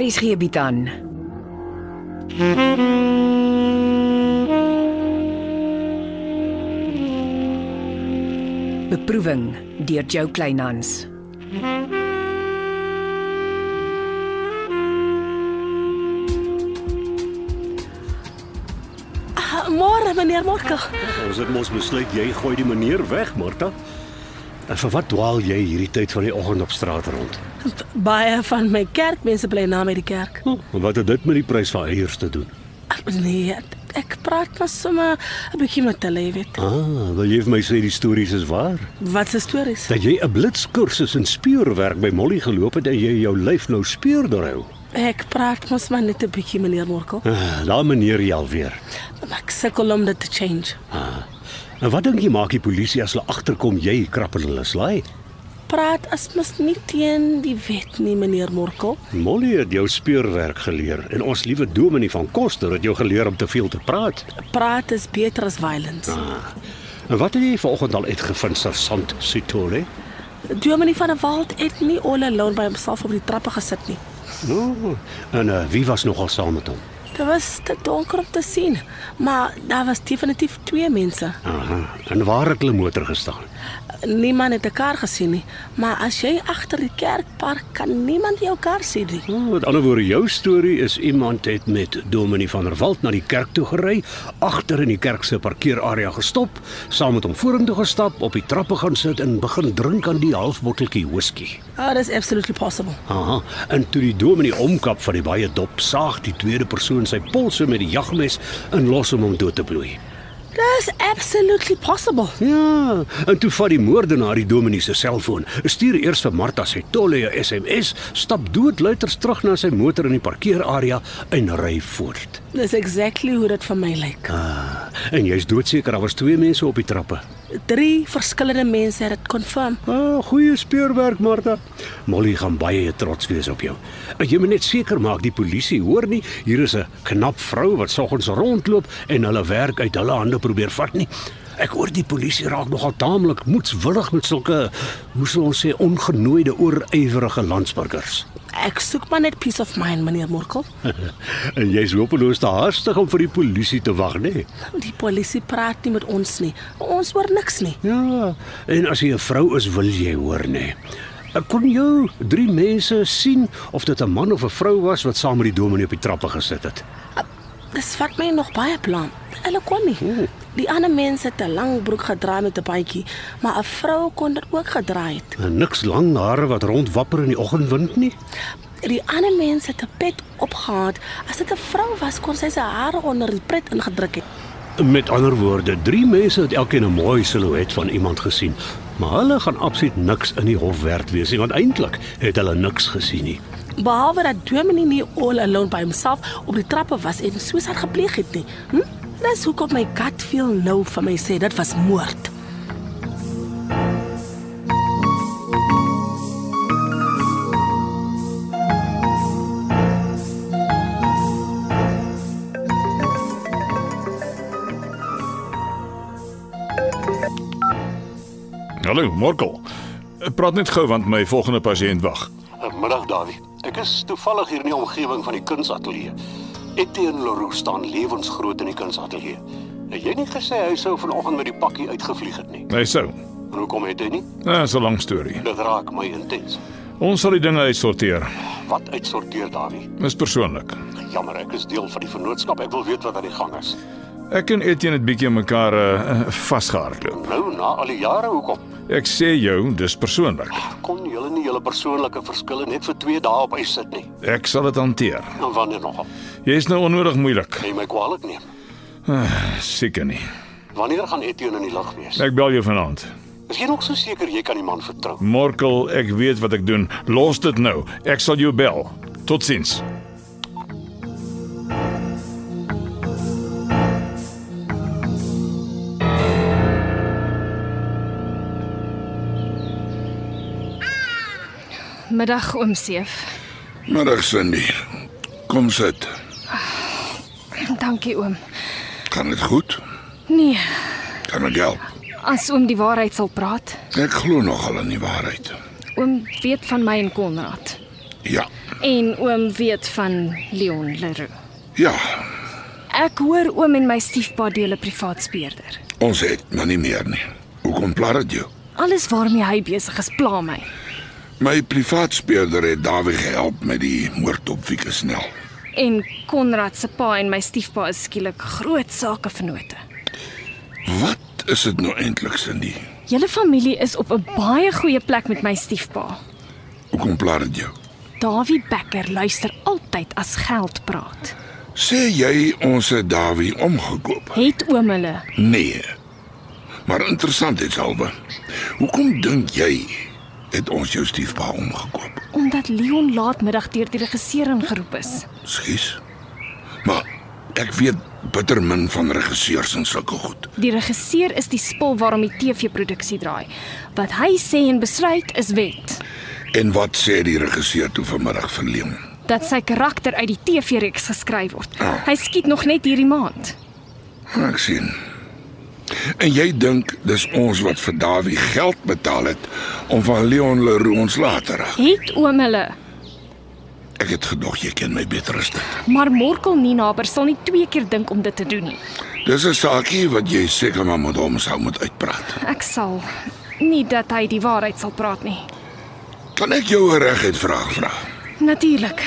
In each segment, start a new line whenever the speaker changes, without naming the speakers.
RSG bied aan. Beproeving deur Jo Kleinhans.
Ah, Môre meneer Morkel.
Ons het mos besluit jy gooi die meneer weg, Martha. En vir wat dwaal jy hierdie tyd van die oggend op straat rond?
B- Baie van my kerkmense bly na by die kerk.
Hm, wat het dit met die prys van eiers te doen?
Nee, ek praat maar sommer 'n bietjie met hulle, jy weet.
Ah, wil jy vir my sê die stories is waar?
Wat se stories?
Dat jy 'n blitskursus in speurwerk by Molly geloop het en jy jou lyf nou speur doorhou.
Ek praat mos maar net 'n bietjie meneer Morkel.
Ah, daai meneer jy alweer.
Maar ek sukkel om dit te change.
Ah. En wat dink jy maak die polisie as hulle agterkom jy krap in hulle slaai?
Praat as mos nie teen die wet nie meneer Morkel.
Molly het jou speurwerk geleer en ons liewe dominee van Koster het jou geleer om te veel te praat.
Praat is beter as violence.
Ah. En wat het jy vanoggend al uitgevind, sergeant Sitole?
Dominee van der Walt het nie all alone by homself op die trappe gesit nie.
No. En uh, wie was nogal saam met hom?
Dit was te donker om te sien, maar daar was definitief twee mense.
Aha. En waar het hulle motor gestaan?
Niemand het 'n kar gesien nie, maar as jy agter die kerk park kan niemand jou kar sien nie.
Nou, met ander woorde, jou storie is iemand het met Dominee van der Walt na die kerk toe gery, agter in die kerk se parkeerarea gestop, saam met hom vorentoe gestap, op die trappe gaan sit en begin drink aan die halfbotteltjie whisky.
Oh, that's absolutely possible.
Aha, en toe die dominee omkap van die baie dop, saag die tweede persoon sy polse met die jagmes en los hom om dood te bloei.
That's absolutely possible.
Ja, en toe vat die moordenaar die dominee se selfoon. Stuur eers vir Martha sy tolle 'n SMS, stap doodluiters terug na sy motor in die parkeerarea en ry voort.
That's exactly hoe dit vir my lyk.
Ah, en jy's doodseker daar was twee mense op die trappe.
Drie verskillende mense het dit confirm.
Ah, goeie speurwerk, Martha. Molly gaan baie trots wees op jou. En jy moet net seker maak die polisie hoor nie. Hier is 'n knap vrou wat soggens rondloop en hulle werk uit hulle hande probeer vat nie. Ek hoor die polisie raak nogal taamlik moedswillig met sulke, hoe sal ons sê, ongenooide oorywerige landsburgers.
Ek soek maar net peace of mind, meneer Morkel.
en jy's hopeloos te haastig om vir die polisie te wag, né? Nee?
Die polisie praat nie met ons nie. Ons hoor niks nie.
Ja, en as jy 'n vrou is, wil jy hoor nê. Ek kon jou drie mense sien of dit 'n man of 'n vrou was wat saam met die dominee op die trappe gesit het.
Uh, Dis vat my nog baie plan. Hulle kon nie. Die ander mense het 'n lang broek gedra met 'n bandjie, maar 'n vrou kon dit ook gedraai het.
En Eh, niks lang hare wat rondwapper in die oggendwind nie.
Die ander mense het 'n pet opgehaat. As dit 'n vrou was, kon sy sy hare onder die pret ingedruk het.
Met ander woorde, drie mense het elkeen 'n mooi silhouet van iemand gesien, maar hulle gaan absoluut niks in die hof werd wees nie, want eintlik het hulle niks gesien nie.
Behalwe dat Dominee nie all alone by homself op die trappe was en soos hy gepleeg het nie. Hm? Dis hoekom my gut feel nou vir my sê dit was moord.
Hallo, Morkel. Ek praat net gou want my volgende pasiënt wag.
Middag, Dawie. Ek is toevallig hier in die omgewing van die kunsateljee. Etienne Leroux staan lewensgroot in die kunsateljee. Het jy nie gesê hy sou vanoggend met die pakkie uitgevlieg het nie?
Hy sou.
En hoekom het hy nie?
Dit is 'n lang storie.
Dit raak my intens.
Ons sal die dinge uitsorteer.
Wat uitsorteer Dawie?
Dis persoonlik.
Jammer, ek is deel van die vennootskap. Ek wil weet wat aan die gang is.
Ek en Etienne het bietjie mekaar uh, vasgehardloop.
Nou na al die jare hoekom?
Ek sê jou, dis persoonlik.
Kon julle nie julle persoonlike verskille net vir 2 dae op ys sit nie?
Ek sal dit hanteer.
En wanneer nogal?
Jy's nou onnodig moeilik.
Kan jy my kwaadlik neem?
Seker nie.
Wanneer gaan Etienne in die lug wees?
Ek bel jou vanaand.
Is jy nog so seker jy kan die man vertrou?
Morkel, ek weet wat ek doen. Los dit nou. Ek sal jou bel. Totsiens.
Middag oom Seef.
Middag Cindy. Kom sit.
Dankie oom.
Gaan dit goed?
Nee,
Kan ek help?
as oom die waarheid sal praat.
Ek glo nogal aan die waarheid.
Oom weet van my en Konrad.
Ja,
en oom weet van Leon Leroux.
Ja,
Ek hoor oom en my stiefpa deel 'n privaat speurder.
ons het, maar nou nie meer nie. Hoekom pla dit jou?
Alles waarmee hy besig is pla my.
My privaat speurder het Dawie gehelp met die moord op Wieke Snell.
En Konrad se pa en my stiefpa is skielik groot sake vennote.
Wat is dit nou eintlik, Cindy?
Julle familie is op 'n baie goeie plek met my stiefpa.
Hoekom pla dit jou?
Dawie Becker luister altyd as geld praat.
Sê jy ons het Dawie omgekoop?
Het oom hulle
Nee. Maar interessant dit selwe. Hoekom dink jy het ons jou stiefpa omgekoop?
omdat Leon laatmiddag deur die regisseur ingeroep is.
Skus. Maar ek weet bitter min van regisseurs en sulke goed.
Die regisseur is die spul waarom die TV-produksie draai. Wat hy sê en besluit is wet.
En wat sê die regisseur toe vanmiddag vir Leon?
Dat sy karakter uit die TV-reeks geskryf word.
Ah.
Hy skiet nog net hierdie maand.
Ek sien. En jy dink dis ons wat vir Dawie geld betaal het om van Leon Leroux ontslae te raak.
Het oom hulle,
Ek het gedog jy ken my beter as dit.
maar Morkel Ninaber sal nie twee keer dink om dit te doen nie.
Dis 'n saakie wat jy seker maar met hom sou moet uitpraat.
Ek sal nie dat hy die waarheid sal praat nie.
Kan ek jou 'n reguit vraag vra?
Natuurlik.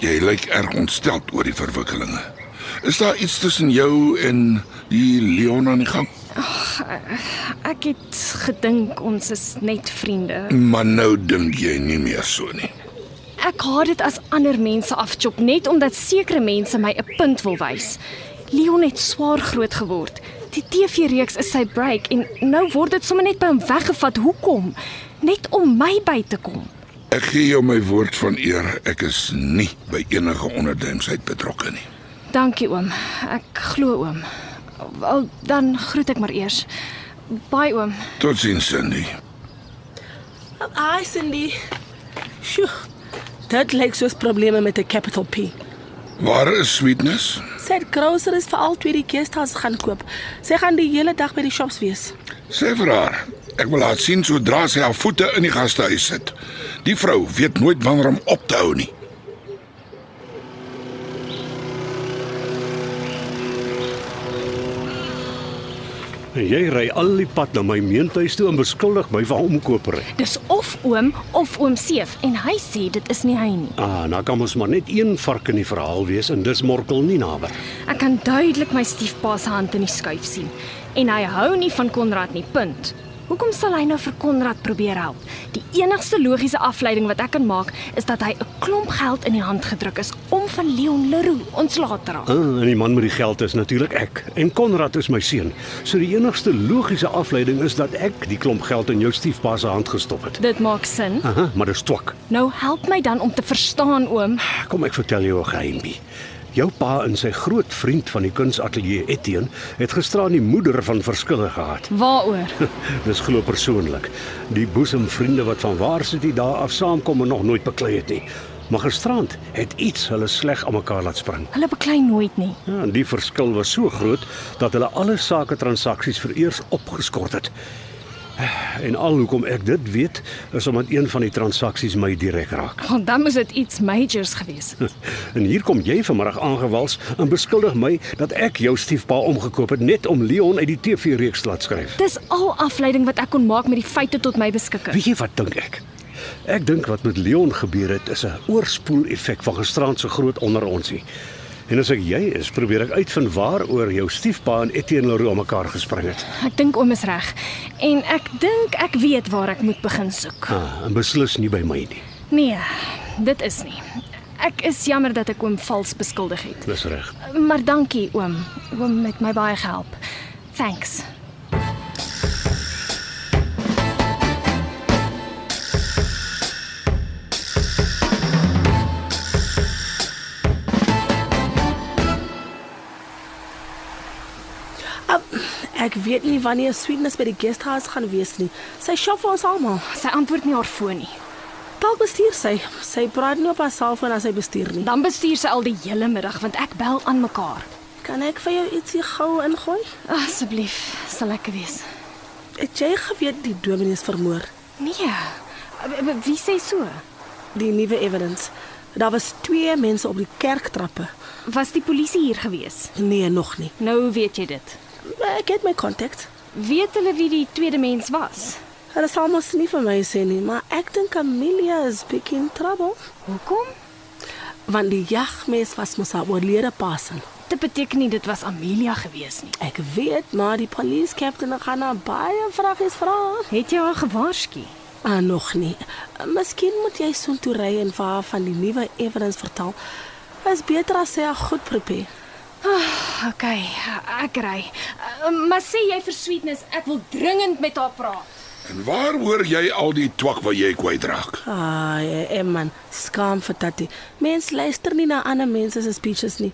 Jy lyk erg ontstel oor die verwikkelinge. Is daar iets tussen jou en die Leon aan die gang?
Ek het gedink ons is net vriende.
Maar nou dink jy nie meer so nie.
Ek haat dit as ander mense afchop net omdat sekere mense my 'n punt wil wys. Leon het swaar groot geword. Die TV-reeks is sy break en nou word dit sommer net by hom weggevat. Hoekom? Net om my by te kom.
Ek gee jou my woord van eer, ek is nie by enige onderduimsheid betrokke nie.
Dankie oom. Ek glo oom. Wel, dan groet ek maar eers. Bye oom.
Totsiens Cindy.
Hi Cindy. Sjoe. Dit lyk soos probleme met 'n capital P.
Waar is sweetness?
Sy het groceries vir al twee die guesthouse gaan koop. Sy gaan die hele dag by die shops wees.
Sê vir haar. Ek wil haar sien sodra sy haar voete in die gastehuis sit. Die vrou weet nooit wanneer om op te hou nie.
En jy ry al die pad na my meentuis toe en beskuldig my van omkopery.
Dis of oom of oom Seef en hy sê dit is nie hy nie.
Ah, nou kan ons maar net een vark in die verhaal wees en dis Morkel nie naby.
Ek kan duidelik my stiefpa se hand in die skuif sien en hy hou nie van Konrad nie, punt. Hoekom sal hy nou vir Konrad probeer help? Die enigste logiese afleiding wat ek kan maak is dat hy 'n klomp geld in die hand gedruk is om van Leon Leroux ontslae te raak.
Ah, en die man met die geld is natuurlik ek en Konrad is my seun. So die enigste logiese afleiding is dat ek die klomp geld in jou stiefpa se hand gestop het.
Dit maak sin.
Aha, maar dis twak.
Nou help my dan om te verstaan, oom.
Kom ek vertel jou 'n geheimpie. Jou pa en sy groot vriend van die kunsatelier Etienne het gisteraan die moeder van verskille gehad.
Waaroor?
Dis glo persoonlik. Die boesemvriende wat van waar sit die dae af saamkom en nog nooit beklei het nie. Maar gisterand het iets hulle sleg aan mekaar laat spring.
Hulle beklei nooit nie.
Ja, en die verskil was so groot dat hulle alle sake transaksies vereers opgeskort het. En al hoekom ek dit weet, is omdat een van die transaksies my direk raak.
Want dan moes dit iets majors gewees het.
En hier kom jy vanmiddag aangewals en beskuldig my dat ek jou stiefpa omgekoop het net om Leon uit die TV-reeks te laat skryf.
Dis al afleiding wat ek kon maak met die feite tot my beskikking.
Weet jy wat dink ek? Ek dink wat met Leon gebeur het is 'n oorspoel effek van gisteraand se groot onder onsie. En as ek jy is, probeer ek uitvind waaroor jou stiefpa en Etienne Leroux aan mekaar gespring het.
Ek dink oom is reg en ek dink ek weet waar ek moet begin soek.
Ah, en beslis nie by my nie.
Nee, dit is nie. Ek is jammer dat ek oom vals beskuldig het.
Dis reg.
Maar dankie oom. Oom het my baie gehelp. Thanks.
Ab, ek weet nie wanneer sweetness by die guesthouse gaan wees nie. Sy shop vir ons almal.
Sy antwoord nie haar foon nie.
Dalk bestuur sy. Sy praat nie op haar selfoon as sy bestuur nie.
Dan bestuur sy al die hele middag want ek bel aan mekaar.
Kan ek vir jou ietsie gou ingooi?
Asseblief, sal lekker wees.
Het jy geweet die dominee is vermoor?
Nee. Wie sê so?
Die nuwe evidence. Daar was twee mense op die kerktrappe.
Was die polisie hier gewees?
Nee, nog nie.
Nou hoe weet jy dit.
Ek het my kontak.
Weet hulle wie die tweede mens was?
Hulle sal mos nie vir my sê nie, maar ek dink Amelia is bietjie in trouble,
Hoekom?
want die jagmes was mos haar oorlede pasen.
Dit beteken nie dit was Amelia gewees nie.
Ek weet, maar die police captain gaan haar baie vragies vra.
Het jy haar gewaarsku?
Ah, nog nie. Miskien moet jy soontoe ry en vir haar van die nuwe evidence vertel. Is beter as sy haar goed prepare.
OK, ek ry. Uh, Maar sê jy vir Sweetness, ek wil dringend met haar praat.
En waar hoor jy al die twak wat jy kwytraak?
Ah, en man, skaam vir Tatie. Mense luister nie na ander mense se speeches nie.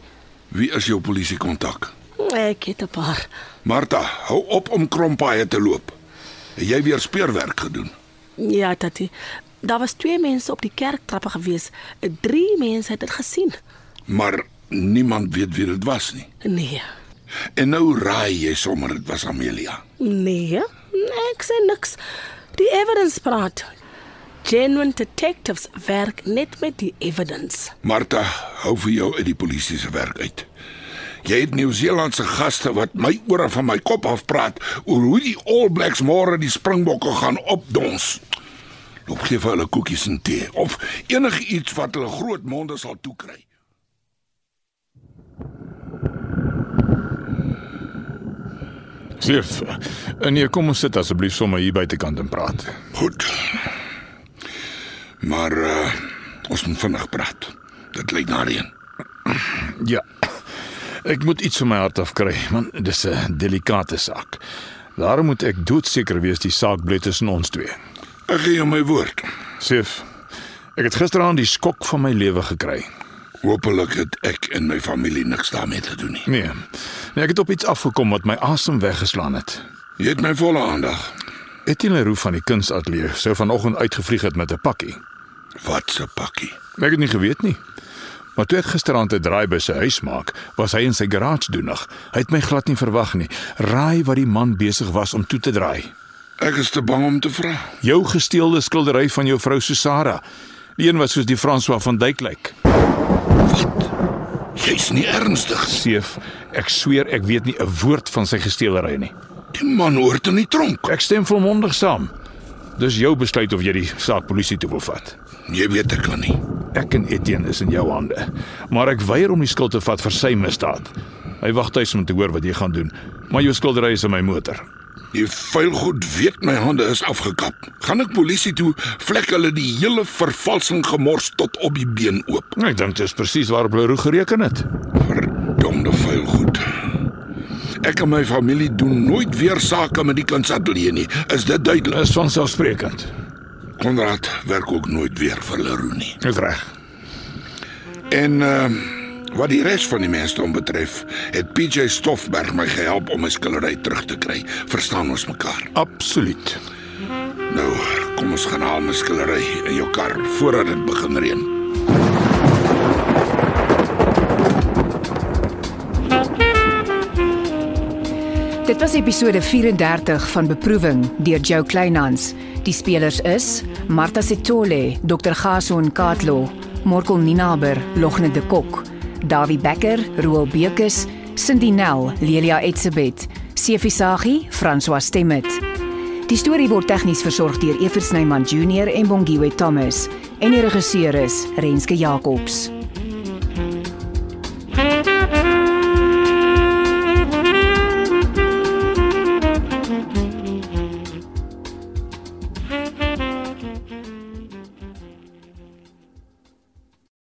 Wie is jou polisie kontak?
Ek het 'n paar.
Martha, hou op om krompaaie te loop. Het jy weer speurwerk gedoen?
Ja, Tatie. Daar was twee mense op die kerktrappe gewees. Drie mense het dit gesien.
Maar niemand weet wie dit was nie.
Nee.
En nou raai jy sommer dit was Amelia.
Nee, ek sê niks. Die evidence praat. Genuine detectives werk net met die evidence.
Martha, hou vir jou uit die polisie se werk uit. Jy het Nieu-Seelandse gaste wat my ore van my kop af praat oor hoe die All Blacks môre die Springbokke gaan opdons. Loop gee vir hulle koekies en tee of enigiets wat hulle groot monde sal toekry.
Sief. En jy eh, kom ons sit asseblief sommer hier buitekant en praat.
Goed. Maar uh, ons moet vinnig praat. Dit lyk na reën.
Ja. Ek moet iets van my hart af kry, want dis 'n delikate saak. Daarom moet ek doodseker wees die saak bly tussen ons twee.
Ek gee jou my woord.
Sief. Ek het gisteraand die skok van my lewe gekry.
Hoopelik het ek en my familie niks daarmee te doen nie.
Nee. nee. Ek het op iets afgekom wat my asem weggeslaan het.
Jy het my volle aandag.
Etienne Leroux van die kunsatelier sou vanoggend uitgevlieg het met 'n pakkie.
Wat 'n pakkie.
Ek het nie geweet nie. Maar toe ek gisteraand 'n draai by sy huis maak, was hy in sy garage doenig. Hy het my glad nie verwag nie. Raai wat die man besig was om toe te draai.
Ek is te bang om te vra.
Jou gesteelde skildery van jou vrou Susara. Die een wat soos die François van Dyk lyk.
Wat? Jy's nie ernstig.
Seef, ek sweer ek weet nie 'n woord van sy gesteelery nie.
Die man hoort in die tronk.
Ek stem volmondig saam. Dis jou besluit of jy die saak polisie toe wil vat.
Jy weet ek kan nie.
Ek en Etienne is in jou hande, maar ek weier om die skuld te vat vir sy misdaad. Hy wag tuis om te hoor wat jy gaan doen, maar jou skildery is in my motor.
Die vuil goed weet my hande is afgekap. Gaan ek polisie toe, vlek hulle die hele vervalsing gemors tot op die been oop.
Ek dink dit is presies waarop Leroux gereken het.
Verdomde vuil goed. Ek en my familie doen nooit weer sake met die kunsatelier nie. Is dit duidelik?
Dis van selfsprekend.
Konrad werk ook nooit weer vir Leroe nie.
Dis reg.
En ehm uh, wat die res van die mense betref, het PJ Stoffberg my gehelp om my skildery terug te kry. Verstaan ons mekaar?
Absoluut.
Nou, kom ons gaan haal my skillery in jou kar voordat dit begin reën.
Dit was episode 34 van Beproewing deur Jo Kleinhans. Die spelers is Martha Setole, Dr. Gaso Nkatlo, Morkel Ninaber, Logne de Kok, Dawie Becker, Roel Bekes, Cindy Nel, Lelia Etsebet, Sefi Sagie, François Stemmet. Die storie word tegnies versorg deur Evert Snyman Junior en Bongwe Thomas en die regisseur is Renske Jacobs.